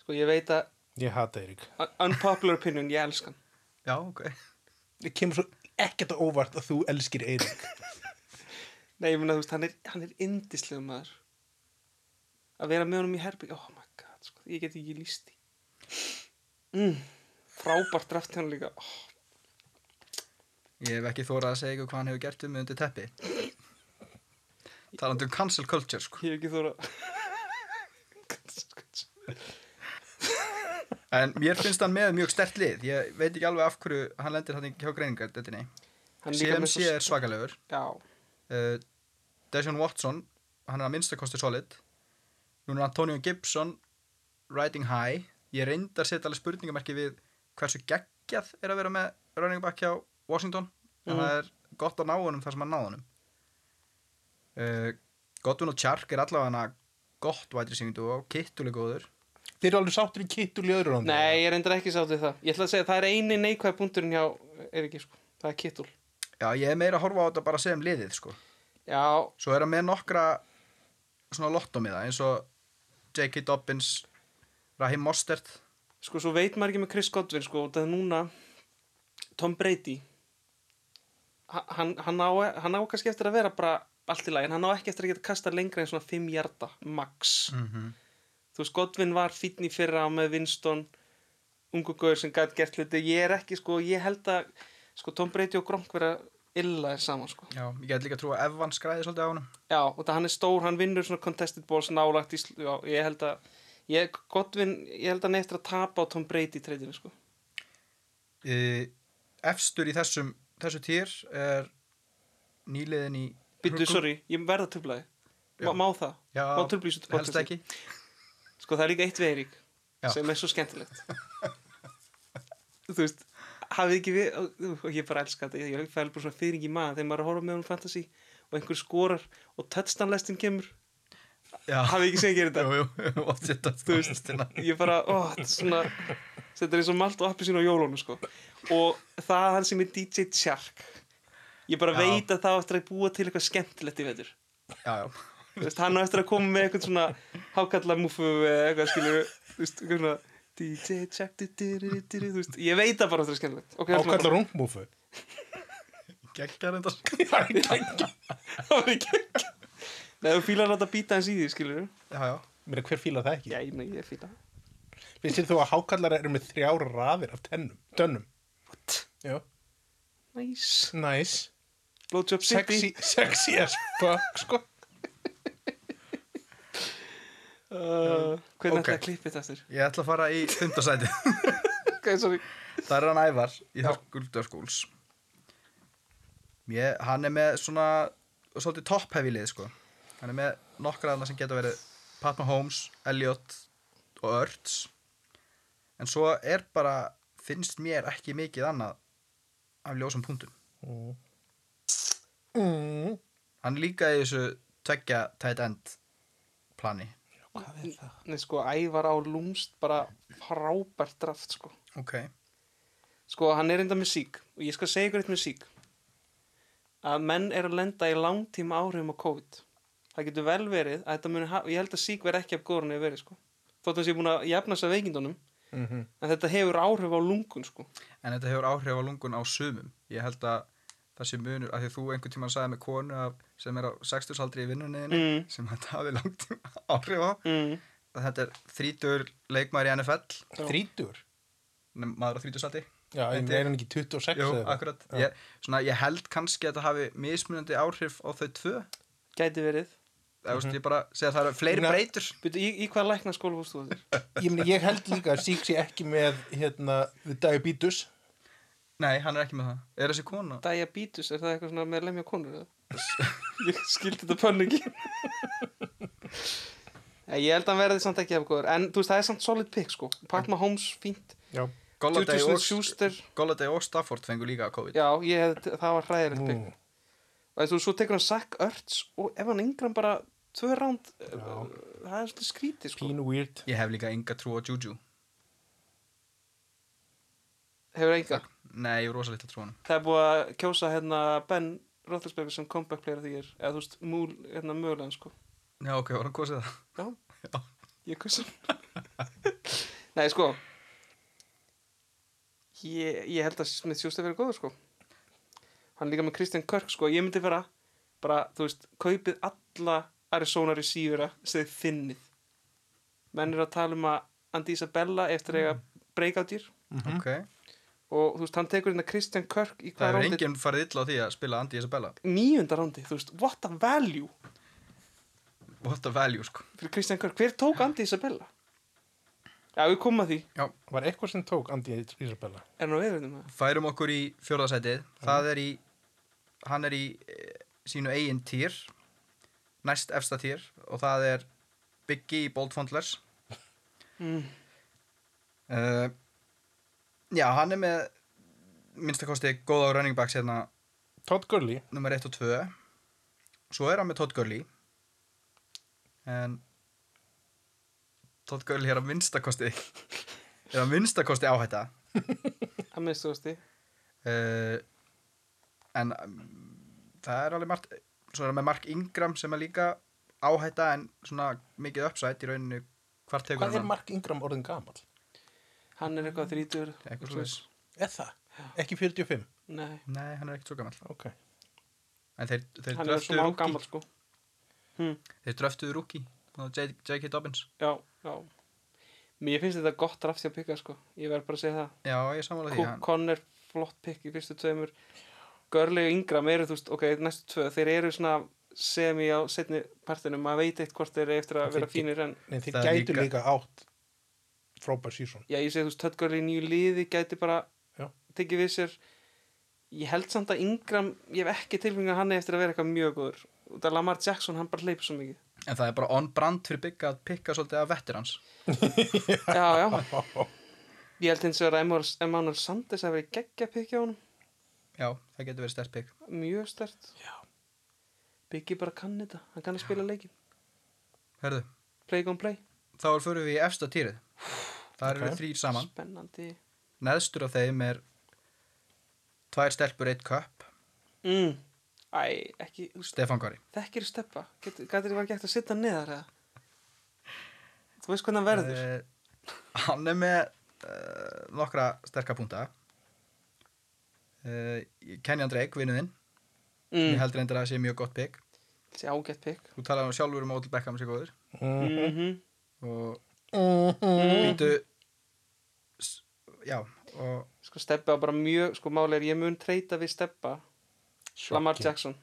S1: Sko, ég veit að
S2: Ég hata Eirík
S1: un- unpopular opinion, ég elska hann
S3: Já, ok.
S2: Ég kemur svo ekkert á óvart að þú elskir Eirík
S1: Nei, ég meina, þú veist, hann er, hann er indislega maður Að vera með honum í herbygg Oh my god, sko, ég get ekki líst í mm, Frábært drafti hann líka oh,
S3: Ég hef ekki þórað að segja ykkur hvað hann hefur gert um undir teppi. Talandi um cancel culture, sko.
S1: Ég hef ekki þóra
S3: En mér finnst hann með mjög stert lið. Ég veit ekki alveg af hverju hann lendir hann í hjá greiningar, þetta nei.
S1: Hann líka með
S3: CMC
S1: svo
S3: er svakalegur.
S1: Já,
S3: uh, Deshaun Watson hann er að minnsta kosti solid núna er Antonio Gibson riding high ég reyndar að setja alveg spurningamerki við hversu geggjað er að vera með running back hjá Washington en
S1: Mhm.
S3: það er gott að ná honum þar sem hann náðunum uh, Godwin og Chark er allavega hann að gott vætri syngindu og kittuleg góður
S2: Þeir eru alveg sáttur í kittul í öðru rándi
S1: Nei, ég reyndar ekki sátt við það. Ég ætla að segja að það er eini neikvæð punkturinn hjá Eiriki, sko. Það er kittul.
S3: já ég er meira að horfa á þetta bara sem liðið sko.
S1: Já,
S3: svo er hann með nokkra svona lottómiða eins og J.K. Dobbins Raheem Mostert
S1: sko, svo veit maður ekki með Chris Godwin, sko, og það er núna Tom Brady. Ha- Hann, hann, á, e, hann á kannski eftir að vera bara allt í lagi, en hann á ekki eftir að geta kasta lengra en svona 5 hjarta, max.
S3: mm -hmm.
S1: Þú veist, Godwin var fínn í fyrra með Winston, ungu gauður sem gætt gert hluti. Ég er ekki, sko, ég held að, sko, Tom Brady og Gronk vera illa saman, sko.
S3: Já, ég get líka að trúa að Evans skræði svolítið á hann
S1: Já, og það hann er stór, hann vinnur svona contested balls nálagt í, sl- já, ég held að ég, Godwin, ég held að hann eigi eftir að tapa á Tom Brady í treytinu, sko
S3: uh, Efstur í þessum þessu týr er nýliðin í
S1: Býttu,
S3: Hruggu.
S1: sorry, ég verða töflaði má,
S3: Já.
S1: má það,
S3: Já,
S1: má töfla í þessu
S3: helst
S1: podcasti?
S3: ekki
S1: Sko, það er líka eitt við Eirík
S3: Já.
S1: sem er svo skemmtilegt Þú veist, hafið ekki við og og ég bara elska þetta, ég ég fæl bara svona fyrring í maður þegar maður er að horfa með honum fantasy og einhver skorar og touchdownlestin kemur
S3: Já,
S1: hafið ekki segið þetta
S3: jú, jú, oft þetta
S1: Þú veist.
S3: stina.
S1: ég bara, ó, þetta er svona þetta er eins og malt og appisín á jólónu sko. og það er hann sem er DJ Shark ég bara
S3: Já.
S1: veit að það á eftir að búa til eitthvað skemmtilegt í vetur
S3: Já, já,
S1: Þú veist, hann á eftir að koma með eitthvað svona hákallamúfu eða eitthvað skilur þú veist, eitthvað svona DJ Shark du, du, du, du, du, du, þú veist, ég veit að bara þetta er skemmtilegt okay, ætlum
S2: Ákallar rungmúfu
S3: geggar endar
S2: Það er ekki
S1: að- það var ekki Nei, þú fílar að láta býta hans í því, skilur
S3: Já, já,
S2: Mér hver fíla það ekki
S1: Já, ég, nei, ég fíla
S2: Finnst þér þú að hákallar eru með þrjár raðir af tennum Tönnum
S1: What?
S2: Já
S1: Nice
S2: Nice
S1: Blowjob City
S2: Sexy, sexy as fuck sko
S1: uh, Hvernig okay.
S3: Ok.
S1: ætlaði að klippa þetta aftur?
S3: ég ætla að fara í fimmtasæti
S1: Ok, sorry
S3: Það er hann Ævar í Þorkuldarskúls Mér, hann er með svona svolítið topphefi lið sko Hann er með nokkra aðna sem geta verið Pat Mahomes, Elliot og Örts En svo er bara, finnst mér ekki mikið annað af ljósum punktum
S2: mm. Mm.
S3: Hann er líka í þessu tveggja tight end plani
S2: Hvað er það?
S1: Nei, sko, ævar á lúmst bara frábært draft, sko.
S3: Ok
S1: Sko, hann er enda með sík og ég skal segja ykkur eitt með sík að menn er að lenda í langtíma áhrifum á COVID það getur vel verið að þetta muni ha- ég held að sík verð ekki af górunni verið sko þótt að sé búin að jafna sig að veikindunum
S2: mm -hmm.
S1: en þetta hefur áhrif á lungun sko
S3: En þetta hefur áhrif á lungun á sumum. Ég held að það sé munur, af því að þú einhvern tímann sagði með konu af, sem er á 60 aldri í vinnunniðinni,
S1: mm,
S3: sem þetta hafi langt tíma áhrif á.
S1: mm,
S3: Að Þetta er þrítur leikmaður í NFL,
S1: Já.
S2: Þrítur?
S3: nema maður á þrítusaldi.
S2: Já, ég
S3: Þetta er-
S2: er hann ekki 26
S3: Jú,
S2: eða eitthvað?
S3: akkurat.
S2: Já.
S3: Ég, svona, ég held kannski að þetta hafi mismunandi áhrif á þau tvö.
S1: gæti verið
S3: Það veist, ég bara segja að það eru fleiri
S2: Ná-
S3: breytur.
S1: Byrju, í, í hvað lækna skóla fórstu þú þér?
S2: Ég, meni, ég held líka að sík sé ekki með hérna, the diabetes
S3: Nei, hann er ekki með það. Er þessi kona?
S1: Diabetes, er það eitthvað svona með að lemja konur? eða? ég skildi þetta pönnu ekki Nei, Ég held að hann verði samt ekki af góður En þú veist, það er samt solid pick sko Pat Mahomes, fínt
S2: Já,
S3: Golladay
S1: Juju
S3: og,
S1: Smith-Schuster.
S3: Golladay og Stafford fengur líka COVID.
S1: Já, ég hef, það var hræðilegt pick
S2: mm.
S1: Og þú, svo tekur hann Sack Örts Og ef hann yngra bara tvö ránd
S2: Já.
S1: Það er svolítið skrítið sko
S2: pínu weird
S3: Ég hef líka enga trú á Juju.
S1: Hefur enga
S3: Nei, ég er rosa lítið að trú á hann.
S1: Það er búið að kjósa hérna Ben Roethlisberger sem comeback player því er Eða þú veist, múl, hérna mögulegan sko
S3: Já, ok, var hann kosið það?
S1: Já,
S3: Já.
S1: ég kussa Nei, sko ég, ég held að Smith Schuster verið góður, sko Hann er líka með Christian Kirk, sko Ég myndi vera, bara, þú veist Kaupið alla Arizona receiver-a sem þið finnið Menn eru að tala um að Andy Isabella eftir
S3: Mm.
S1: eiga breakoutir
S3: Ok,
S1: og þú veist, hann tekur hérna Christian Kirk í
S3: það
S1: hvað
S3: er
S1: rándi?
S3: enginn farið illa á því að spila Andy Isabella
S1: Níunda rándi, þú veist, what a value
S3: What a value, sko
S1: fyrir Christian Kirk. Hver tók Andy Isabella? Já, við komum að því,
S2: Var eitthvað sem tók Andy Isabella
S1: er hann á viðurinn með það?
S3: Færum okkur í fjórðasætið Það er í, hann er í e, sínu eigin týr Næst efsta týr Og það er Biggie í Boldfondlers
S1: Mm.
S3: uh, Já, hann er með minnstakosti góða á running backs hérna
S2: Todd Gurley
S3: nummer 1 og 2 svo er hann með Todd Gurley en Todd Gurley er að minnstakosti er að minnstakosti áhætta
S1: að minnstuðasti
S3: uh, en um, það er alveg margt svo er hann með Mark Ingram sem er líka áhætta en svona mikið uppsætt í rauninu hvar tekur
S2: Hvað er
S3: hann
S2: Mark Ingram orðin gamal?
S1: hann er eitthvað þrítur
S3: eitthvað svoleiðis.
S2: Er það? Ekki 45?
S1: nei,
S3: nei, hann er ekkert svo gammal
S2: Ok
S3: en þeir, þeir
S1: hann er
S3: dröftuðu
S1: svona
S3: rúki
S1: ágammal sko
S3: þeir dröftuðu rúki J.K. Dobbins
S1: já, já mér finnst þetta gott draft hjá pika sko ég verð bara að segja það
S3: já, ég sammála því
S1: Cook
S3: hann,
S1: Conner flott pikk í fyrstu tveimur Görli og Ingram eru þú veist ok, næstu tvö, þeir eru svona sem ég á setni partinu, maður veit eitt hvort þeir eru eftir
S2: Það
S1: að vera
S2: þykir.
S1: fínir en
S2: Nei, þeir
S3: Það er
S2: gætu
S3: líka-
S2: líka átt frábær sísón
S1: já, ég segi þú veist, Todd Görli í nýju liði gæti bara
S2: Já.
S1: tekið við sér ég held samt að Ingram ég hef ekki tilfengi að hann er eftir að vera eitthvað mjög góður og það Lamar Jackson, hann bara hleypur svo mikið
S3: en það er bara on brand fyrir Bigga að pikka svolítið af vetterans
S1: já, já Ég held hins vegar að Emmanuel- Emmanuel Sanders að verið geggja pikki á honum,
S3: Já, það getur verið stert pick.
S1: mjög stert
S2: Já.
S1: Biggi bara kann þetta, hann kann að spila leikin
S3: Herðu,
S1: Play on play,
S3: þá fyrir við í efsta týrið. Það eru
S2: Ok.
S3: okay. þrýr saman.
S1: spennandi
S3: Neðstur af þeim er tvær stelpur, eitt köpp,
S1: mm. Æ, ekki, þú veist,
S3: Stefán Gari.
S1: þekkir steppa Gætir þér var ekki eftir að sitta neðar eða Þú veist hvernig hann verður
S3: Eh, hann er með uh, nokkra sterka púnta. Uh, Kenyan Drake, vinnuðinn. Mm. Ég
S1: mm.
S3: held reyndar að það sé mjög gott pick.
S1: Þessi ágætt pikk
S3: Þú talaði nú sjálfur um Odell Beckham sem góður.
S1: mm
S3: Og
S2: Mhm.
S3: býtu... S- Já, og...
S1: Sko steppa var bara mjög, sko máli er ég mun treyta við steppa Lamar
S2: Shocking.
S1: Jackson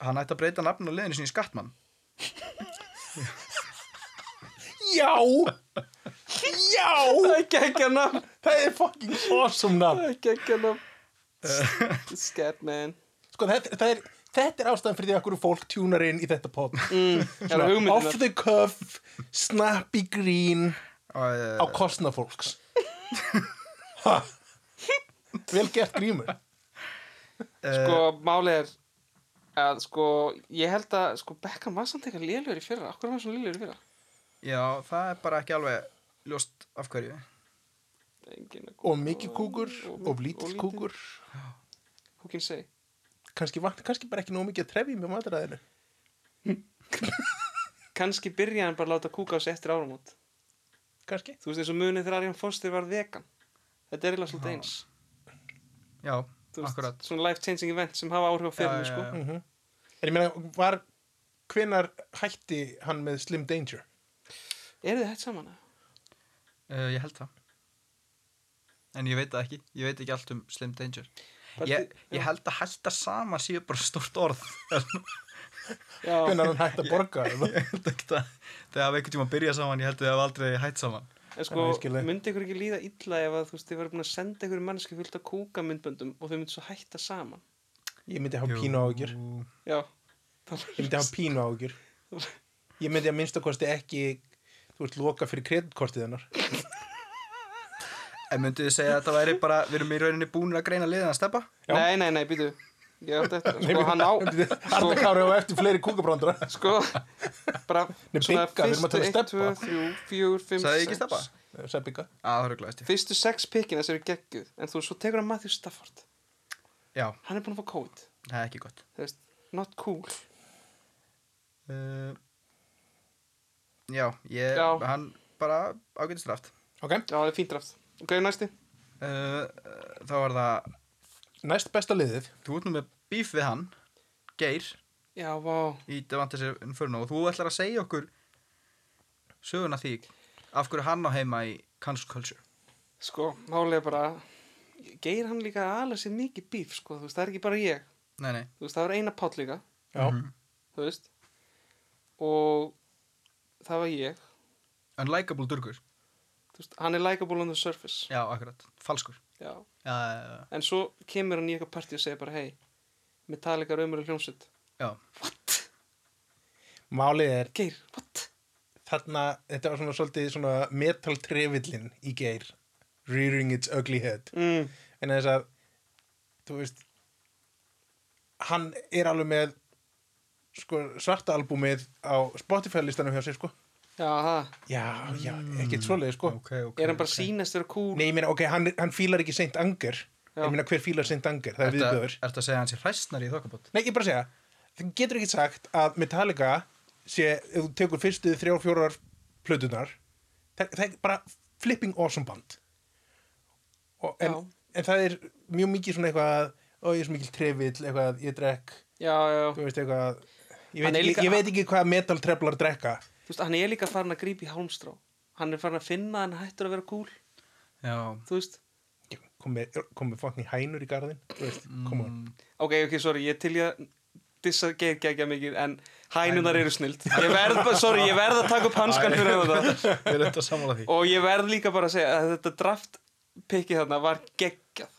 S3: Hann ætti að breyta nafn og liðinu sinni í Skattmann.
S2: Já Já
S1: Það er geggja nafn,
S2: Það er fucking awesome
S1: það
S2: nafn
S1: er geggja nafn Scatman
S2: Sko þetta, það er, þetta er ástæðan fyrir því að hverju fólk tjúnar inn í þetta pop
S1: mm. Það eru
S2: Off
S1: hugmyndunar
S2: the cuff Snappy green
S3: Og,
S2: Á
S3: uh,
S2: kostna fólks Ha. Vel gert grímur
S3: eh,
S1: sko,
S2: Eh,
S1: málið er að sko, ég held að sko, Beckham var samt eitthvað lélur í fyrra okkur var hann svona lélur í fyrra
S3: Já, það er bara ekki alveg ljóst af hverju.
S1: engin að kúka
S2: og mikið kúkur og
S1: lítill.
S2: lítill kúkur
S1: Who can say?
S2: kannski, vant- kannski bara ekki nóg mikið að trefja með matræðinu
S1: Kanski byrja hann bara að láta kúka á sig eftir áramót
S2: kannski
S1: Þú veist eins og munið þegar Arjan Foster var vegan Þetta er eiginlega svolítið eins
S3: já,
S1: Þú veist,
S3: akkurat
S1: Svona life changing event sem hafa áhrif á fyrir
S3: Já,
S1: sko.
S3: já, já.
S2: mm en ég meina var hvenar hætti hann með Slim Danger
S1: Eru þið hætt saman? eða?
S3: Uh, ég held það En ég veit það ekki, ég veit ekki allt um Slim Danger
S1: Bara
S3: Ég,
S1: þið-
S3: ég held að hætta sama séu bara stórt orð Ég
S1: Já,
S2: hvenar hann hætti að borga yeah.
S3: held ekki það Þegar hafa einhvern tíma að byrja saman, ég held að þið hafa aldrei hætt saman
S1: en sko,
S2: Já, ég skil þig.
S1: myndi ykkur ekki líða illa ef að þú veist, þið verður búin að senda ykkur manneski fullt að kúka myndböndum og þau myndu svo hætta saman
S2: ég myndi hafa pínu áhugjur
S3: Jú.
S1: Já,
S2: ég myndi hafa pínu áhugjur ég myndi að minnstakosti ekki þú veist loka fyrir kreditkortið hennar
S3: En myndu þið segja að þetta væri bara Við erum í rauninni búin að greina liðan að steppa
S2: Já.
S1: Nei, nei, nei, býtu Ég átti eftir, sko, hann á
S2: Arna Kári á eftir fleiri kúkabrandra
S1: Sko, bara
S2: Nei, Bigga, við erum að tala um
S1: fyrstu 1, 2,
S2: Stebba.
S1: 3, 4, 5,
S3: Sagði ég ekki steppa?
S1: 6
S2: Sæpika
S3: Á, það eru glæðist ég
S1: Fyrstu 6 pikkina sem eru gegguð En þú, svo tekur hann Matthew Stafford
S3: Já,
S1: Hann er búin að fá kót
S3: það er ekki gott
S1: Þú veist, not cool
S3: uh, Já, ég,
S1: Já.
S3: hann bara ágætist draft
S2: ok
S1: Já, það er fínt draft Ok, næsti
S3: uh, uh, Þá var það,
S2: næst besta liðið
S3: þú ert nú með bíf við hann Geir
S1: Já, vá
S3: í Devante Inferno og þú ætlar að segja okkur söguna því af hverju hann á heima í cancel culture
S1: Sko, málega bara Geir hann líka alveg sér mikið bíf, sko Þú veist, það er ekki bara ég
S3: nei, Mhm. nei,
S1: Þú veist, það var eina pál líka
S2: já
S1: Mhm. Þú veist Og það var ég
S3: unlikable durgur
S1: Þú veist, hann er likeable on the surface
S3: já, akkurat, falskur
S1: Já
S3: já, já,
S1: En svo kemur hann í eitthvað partí og segir bara hei, Metallica er raumur hljómsveit.
S3: já,
S2: málið er
S1: Geir, what?
S2: þarna þetta var svona svolítið svona metal trefillin í geir rearing its ugly head
S1: Mm.
S2: en þess að þú veist hann er alveg með sko, svarta albúmið á Spotify listanum hjá sér sko
S1: Já, það.
S2: já, já, ekkert svoleið sko
S3: ok, ok
S1: er hann bara sýnast vera cool?
S2: nei, ég meina, ok, hann, hann fílar ekki seint anger
S1: Já.
S2: ég meina, hver fílar seint anger, það er
S3: Ertu
S2: viðbjöður
S3: ertu að segja hans í hræstnar í þokkabót?
S2: nei, ég bara að segja, þú getur ekki sagt að Metallica sé, ef þú tekur fyrstu þrjár, fjórar plötunar það, það er bara flipping awesome band og, en,
S1: Já.
S2: en það er mjög mikið svona eitthvað ó, ég er svo mikil trefill, eitthvað, ég drekk
S1: Já, já, já.
S2: þú veist eitthvað ég
S1: Hann
S2: veit,
S1: er
S2: ekki,
S1: líka-
S2: ég veit ekki hvað metal treflar drekka
S1: Þú veist, hann er líka farin að grípa í hálmstrá. Hann er farin að finna að hann hættur að vera cool.
S3: já,
S1: Þú veist,
S2: komið kom fangni hænur í garðin þú veist, koma on
S1: ok, ok, sorry, ég er til ég að dissa Geir gegja mikið, en hænunar eru snild. Ég verð bara, sorry, ég verð að taka upp hanskan fyrir þetta.
S3: ég er þetta að samála því
S1: Og ég verð líka bara að segja að þetta draft pikið þarna var geggjað.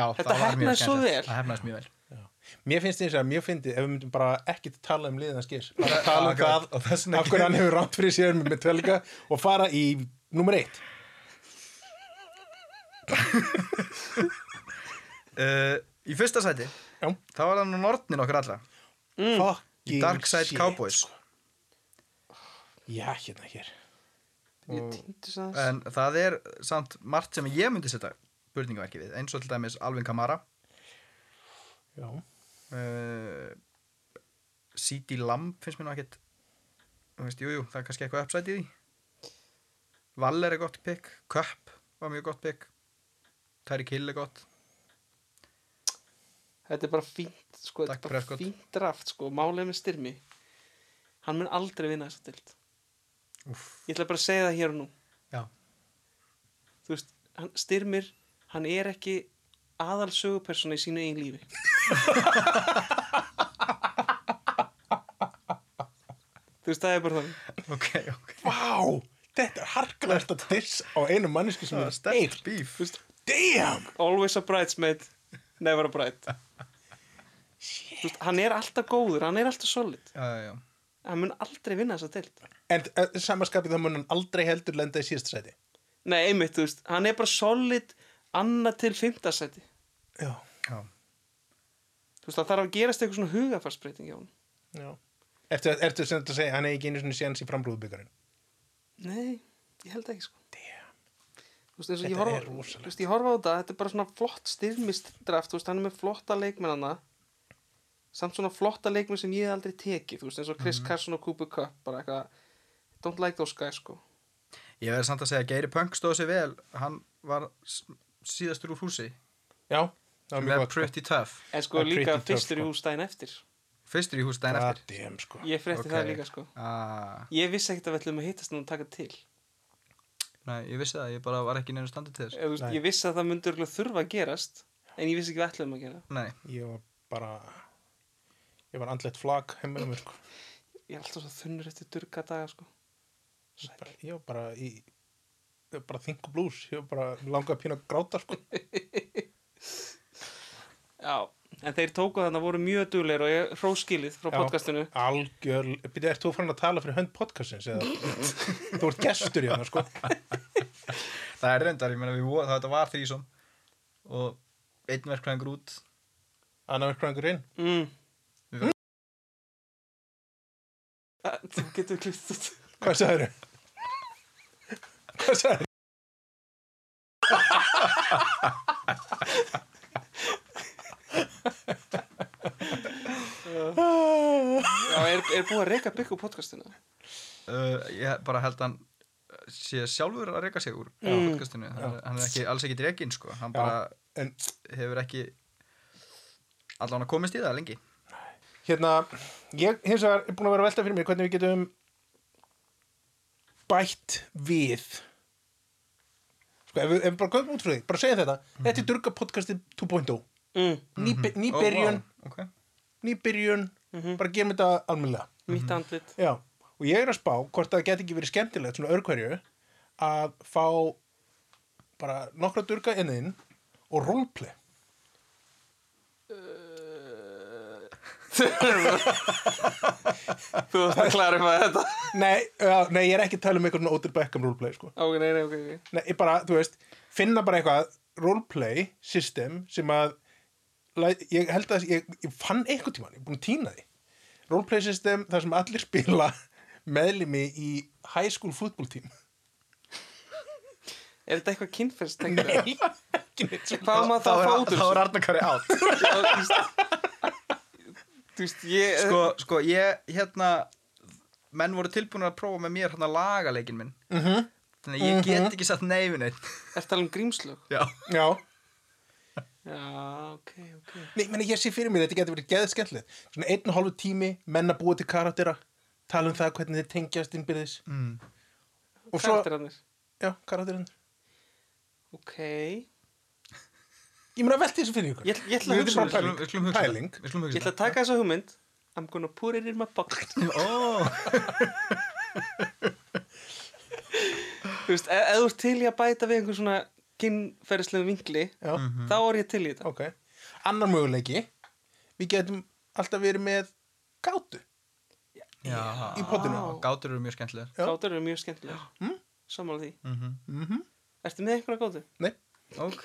S3: já,
S1: Þetta
S3: það var mjög
S1: heppnaðist svo
S3: skemmtilegt.
S1: vel.
S3: það hefnaðist mjög vel
S2: Mér finnst eins og að mjög fyndið ef við myndum bara ekkert tala um liðan skýrs bara
S3: Já,
S2: tala um það
S3: akkurat. Og þess vegna
S2: af hverju hann hefur rátt fyrir sér með Metallica og fara í nummer eitt
S3: uh, í fyrsta sæti,
S2: Já.
S3: þá var það nú nortnin okkur allra í
S2: Fucking
S3: Mm. Dark Side
S2: shit. sko.
S3: Cowboys
S2: Já, hérna hér
S1: Ég týndi þess aðeins.
S3: Mm. en það er samt margt sem ég myndi setja spurningaverki við, eins og til dæmis Alvin Kamara
S2: Já,
S3: uh, CD Lamb finnst mér nú ekkert þú veist, jújú, jú, það er kannski eitthvað uppsætt í því Valler er gott pick Köpp var mjög gott pick Terry Kill er gott
S1: Þetta er bara fínt, sko,
S3: Dak
S1: þetta er bara
S3: Prescott.
S1: fínt draft, sko, málið með styrmi. Hann mun aldrei vinna þessa dild.
S3: Úff.
S1: Ég ætla bara að segja það hér og nú.
S3: Já.
S1: Þú veist, hann, styrmir, hann er ekki aðal sögupersona í sínu eigin lífi. Þú veist, það er bara þannig.
S3: ok, ok
S2: vá, þetta er harkalegt að diss á einu mannesku sem
S3: Það
S2: er
S3: er
S2: steik
S3: sterkt bíf
S2: Damn,
S1: Always a bridesmaid, never a bride. Þú veist, hann er alltaf góður, hann er alltaf solid.
S3: já, já, já.
S1: Hann mun aldrei vinna þessa dild.
S2: en uh, samaskapið það mun hann aldrei heldur lenda í síðasta sæti
S1: Nei, einmitt, þú veist, hann er bara solid annað til fimmtasæti.
S2: Já,
S3: Já.
S1: Þú veist, það þarf að gerast eitthvað svona hugafarsbreyting hjá hann.
S2: já Ertu, ertu sem þetta að segja, hann er ekki einu svona séns í framrúðbyggarinn
S1: Nei, ég held ekki, sko.
S2: Damn
S1: Þú veist, eins og
S2: Þetta
S1: ég horfa-
S2: er rosalegt.
S1: þú veist, ég horfa á þetta, þetta er bara svona flott styrmistraft, þú veist, hann er með flotta leikmennana samt svona flotta leikmenn sem ég hef aldrei tekið, þú veist, eins og Chris
S2: Mhm.
S1: Carson og Cooper Cup, bara eitthvað don't like those guys, sko
S3: Ég verði samt að segja að Geiri Punk stóð sér vel Hann var s- síðastur úr húsi
S2: Já, það var
S3: sem
S2: mjög
S3: er
S2: gott
S3: pretty tough
S1: en
S2: Það
S1: sko
S2: er
S1: líka
S2: pretty tough,
S1: fyrstur í
S2: sko.
S1: hús daginn eftir
S3: Fyrstur í húsi daginn
S2: God
S3: eftir
S2: damn, sko
S1: ég frétti það
S3: Ok.
S1: líka, sko
S3: ah,
S1: ég vissi ekkert að við ætlum að hittast nú að taka til
S3: Nei, ég vissi það, ég bara var ekki neina standið til þess
S1: Eða, þú veist,
S2: Nei.
S1: ég vissi að það myndi örugglega þurfa að gerast en ég vissi ekki hvað ætlum að gera
S3: Nei,
S2: Ég var bara Ég var andlegt flag heima um mér, sko
S1: ég er alltaf svo þunnur eftir durga daga sko.
S2: bara, Ég var bara í ég var bara think blues Ég var bara mig langaði að pína að gráta, sko
S1: já, en þeir tóku þannig að voru mjög dugleir og ég hróskilið frá
S2: Já.
S1: podcastinu
S2: Algjör Býttu, ert þú farin að tala fyrir hönd podcastins? Eða? þú ert gestur í hana, sko
S3: það er reyndar, ég meina við vorum, þetta var þrísom og einn verkfræðingur út
S2: Anna verkfræðingur inn
S1: mm.
S3: Mm.
S1: Eh, þú getur klift út
S2: Hvað sagðir Hvað sagðir
S1: já, er, er búið að reyka byggu podcastinu
S3: uh, ég bara held að hann uh, sé sjálfur að reyka sig úr
S1: Já.
S3: podcastinu, hann, er- hann er ekki, alls ekki dreginn sko, hann
S2: Já.
S3: bara
S2: En
S3: hefur ekki allan að komist í það lengi
S2: hérna, ég hins vegar er búin að vera að velta fyrir mér hvernig við getum bætt við sko, ef við, ef við bara göfum út frá því bara segja þetta, þetta er Durga podcastið 2.0
S1: mm.
S2: Nýbe- nýbyrjun,
S3: oh, wow. okay.
S2: nýbyrjun bara gerum þetta almennilega
S1: mitt
S3: Mhm.
S1: andlit
S2: Já, og ég er að spá hvort það geti ekki verið skemmtilegt svona örkverju að fá bara nokkra durga inninn og roleplay
S1: þú varst að klara um að þetta
S2: Nei, uh, nei, ég er ekki að tala um eitthvað svona Odell Beckham roleplay sko.
S1: ok, nei, nei, ok, ok
S2: Nei, ég bara, þú veist, finna bara eitthvað roleplay system sem að læ- ég held að ég, ég fann eitthvað tíma, ég er búin að týna því roleplay system þar sem allir spila meðlimi í high school football team
S1: er þetta eitthvað kynferðst hvað
S2: ekki neitt svona
S1: á maður það að fá út úr
S3: þá er Arnarkari átt
S1: þessu? þú veist, ég
S3: sko, sko, ég, hérna menn voru tilbúin að prófa með mér hérna lagaleikin minn
S2: Mhm.
S3: þannig að ég get ekki satt neifinu
S1: er talað um grímslög
S3: já,
S2: Já,
S1: Já, ok, ok.
S2: nei, meni, ég sé fyrir mér þetta getur verið geðið skemmtilegt svona einn og hálfu tími, menn að búa til karaktera tala um það hvernig þið tengjast innbyrðis
S3: mm.
S2: og svo,
S1: Karakterarnir.
S2: já, karakterinn
S1: Ok.
S2: ég meina velti þessu fyrir ykkur
S1: Ég, ætl- ég ætla að
S2: Við
S1: hugsa
S2: erum
S1: um þetta.
S2: bara pæling.
S3: Við skulum hugsa
S2: Pæling.
S3: það. Við skulum
S1: Ég
S3: hugsa
S1: ætla að taka þessa hugmynd. I'm gonna put it in my pocket.
S3: það. Ó,
S1: Þú veist, e- ef ef þú ert til í að bæta við einhver svona kynferðislega vinkli,
S2: Já,
S1: þá er ég til í þetta.
S2: Ok. Annar möguleiki, við getum alltaf verið með gátu.
S3: já.
S2: Í pottinu.
S3: Já, Gátur eru mjög skemmtilegar.
S2: Já.
S1: Gátur eru mjög skemmtilegar. Mm? Sammála því.
S3: Mm
S2: Mm -hmm.
S1: Ertu með einhverja gátu?
S2: Nei,
S3: Ok,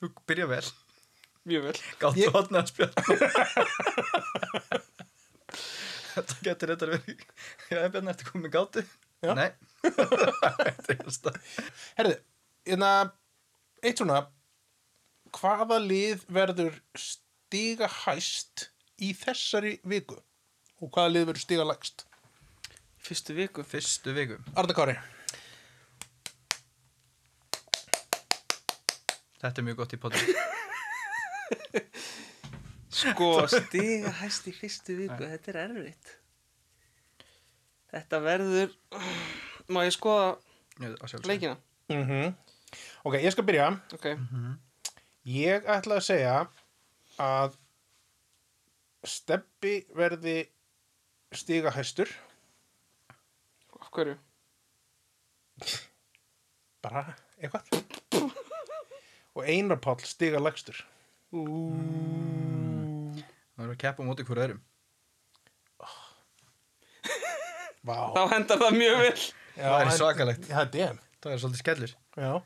S3: þú byrja vel.
S1: Mjög vel.
S3: Gátur ég... hotna að spjalla. Þetta getur þetta verið. Já, Bjarni, ertu komið með gátu?
S2: Já.
S3: Nei. Þetta er alltaf.
S2: herðu, hérna, eitt svona, hvaða lið verður stiga hæst í þessari viku? Og hvaða lið verður stiga lægst?
S1: Fyrstu viku.
S3: Fyrstu viku.
S2: Arna Kári.
S3: Þetta er mjög gott í potinu.
S1: Sko, stiga hæst í fyrstu viku. Þetta er erfitt. Þetta verður... Má ég skoða leikina?
S2: Mm Ok, ég skal byrja.
S1: Ok.
S2: Ég ætla að segja að steppi verði stiga hæstur.
S1: Af hverju?
S2: bara eitthvað og Einar Páll stiga lægstur
S3: Það verður að keppa á móti hverju öðrum.
S2: Vá
S1: Þá hendar það mjög vel.
S2: Já,
S3: það er
S2: en-
S3: svakalegt.
S2: Já, damn
S3: Það er svolítið skellur.
S2: Já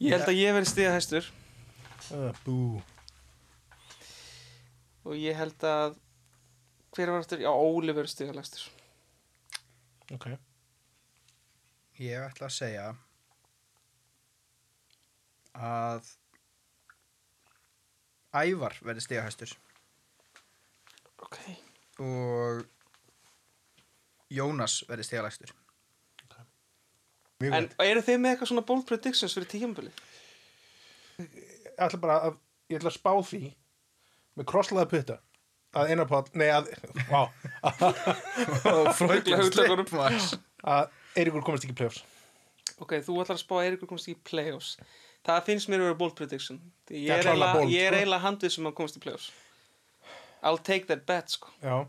S1: Ég held að ég verði stiga hæstur
S2: uh, Bú
S1: og ég held að hver var aftur? Já, Óli verður stiga lægstur.
S2: Ok
S3: Ég ætla að segja að Ævar verði stigahæstur
S1: Ok,
S3: og Jónas verði stigalægstur
S2: Mjög
S1: en
S2: gott.
S1: eru þið með eitthvað svona bold predictions fyrir tíjambili?
S2: Ég ætla bara að, ég ætla að spá því með krosslaða putta að einar pál, nei að, vá,
S3: og Fröglan
S1: Hugleikunum.
S3: Slipmars
S2: að Eiríkur komast ekki í play-offs.
S1: Ok, þú ætlar að spá að Eiríkur komast ekki í playoffs Það finnst mér að vera bold prediction Því
S2: Það
S1: Ég
S2: er
S1: er
S2: klárlega
S1: eiginlega-
S2: bold,
S1: ég er
S2: sko.
S1: eiginlega handið sem hann komast í playoffs I'll take that bet, sko
S2: Já,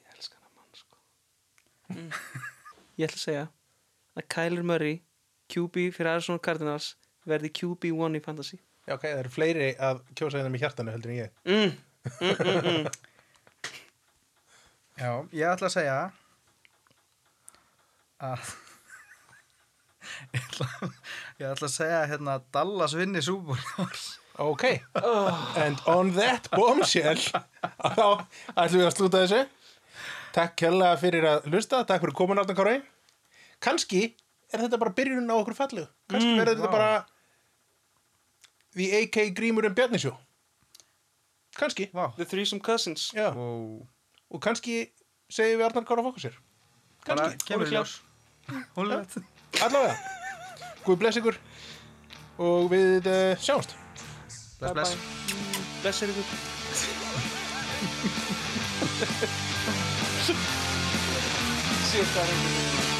S1: Ég elska hann mann, sko mm. Ég ætla að segja að Kyler Murray QB fyrir Arizona Cardinals verði QB1 í fantasy
S2: já ok, það eru fleiri að kjósa þeim í hjartanu heldur en ég.
S1: mm. Mm, mm, mm.
S3: Já, ég ætla að segja að ég ætla, ég ætla að segja hérna að Dallas vinni súbúr
S2: Ok,
S3: Ah.
S2: and on that bombshell að þá ætlum við að slúta þessu Takk kjærlega fyrir að hlusta takk fyrir komin áttan Kári Kanski er þetta bara byrjunin á okkur fallegu Kanski verður þetta
S3: Mm, vá.
S2: bara The AK Grímur en Bjarnisjó Kanski
S3: Vá,
S1: The Threesome Cousins
S2: Já,
S3: wow.
S2: og kanski segjum við Arnar Kára fókusir
S3: Bara
S2: Kannski,
S3: kemur í
S1: ólíklega.
S3: ljós Hólið
S2: Allavega Guð bless ykkur og við uh, sjáumst
S3: Bless, bless
S1: Bless Eiríkur Sjöfn það Eiríkur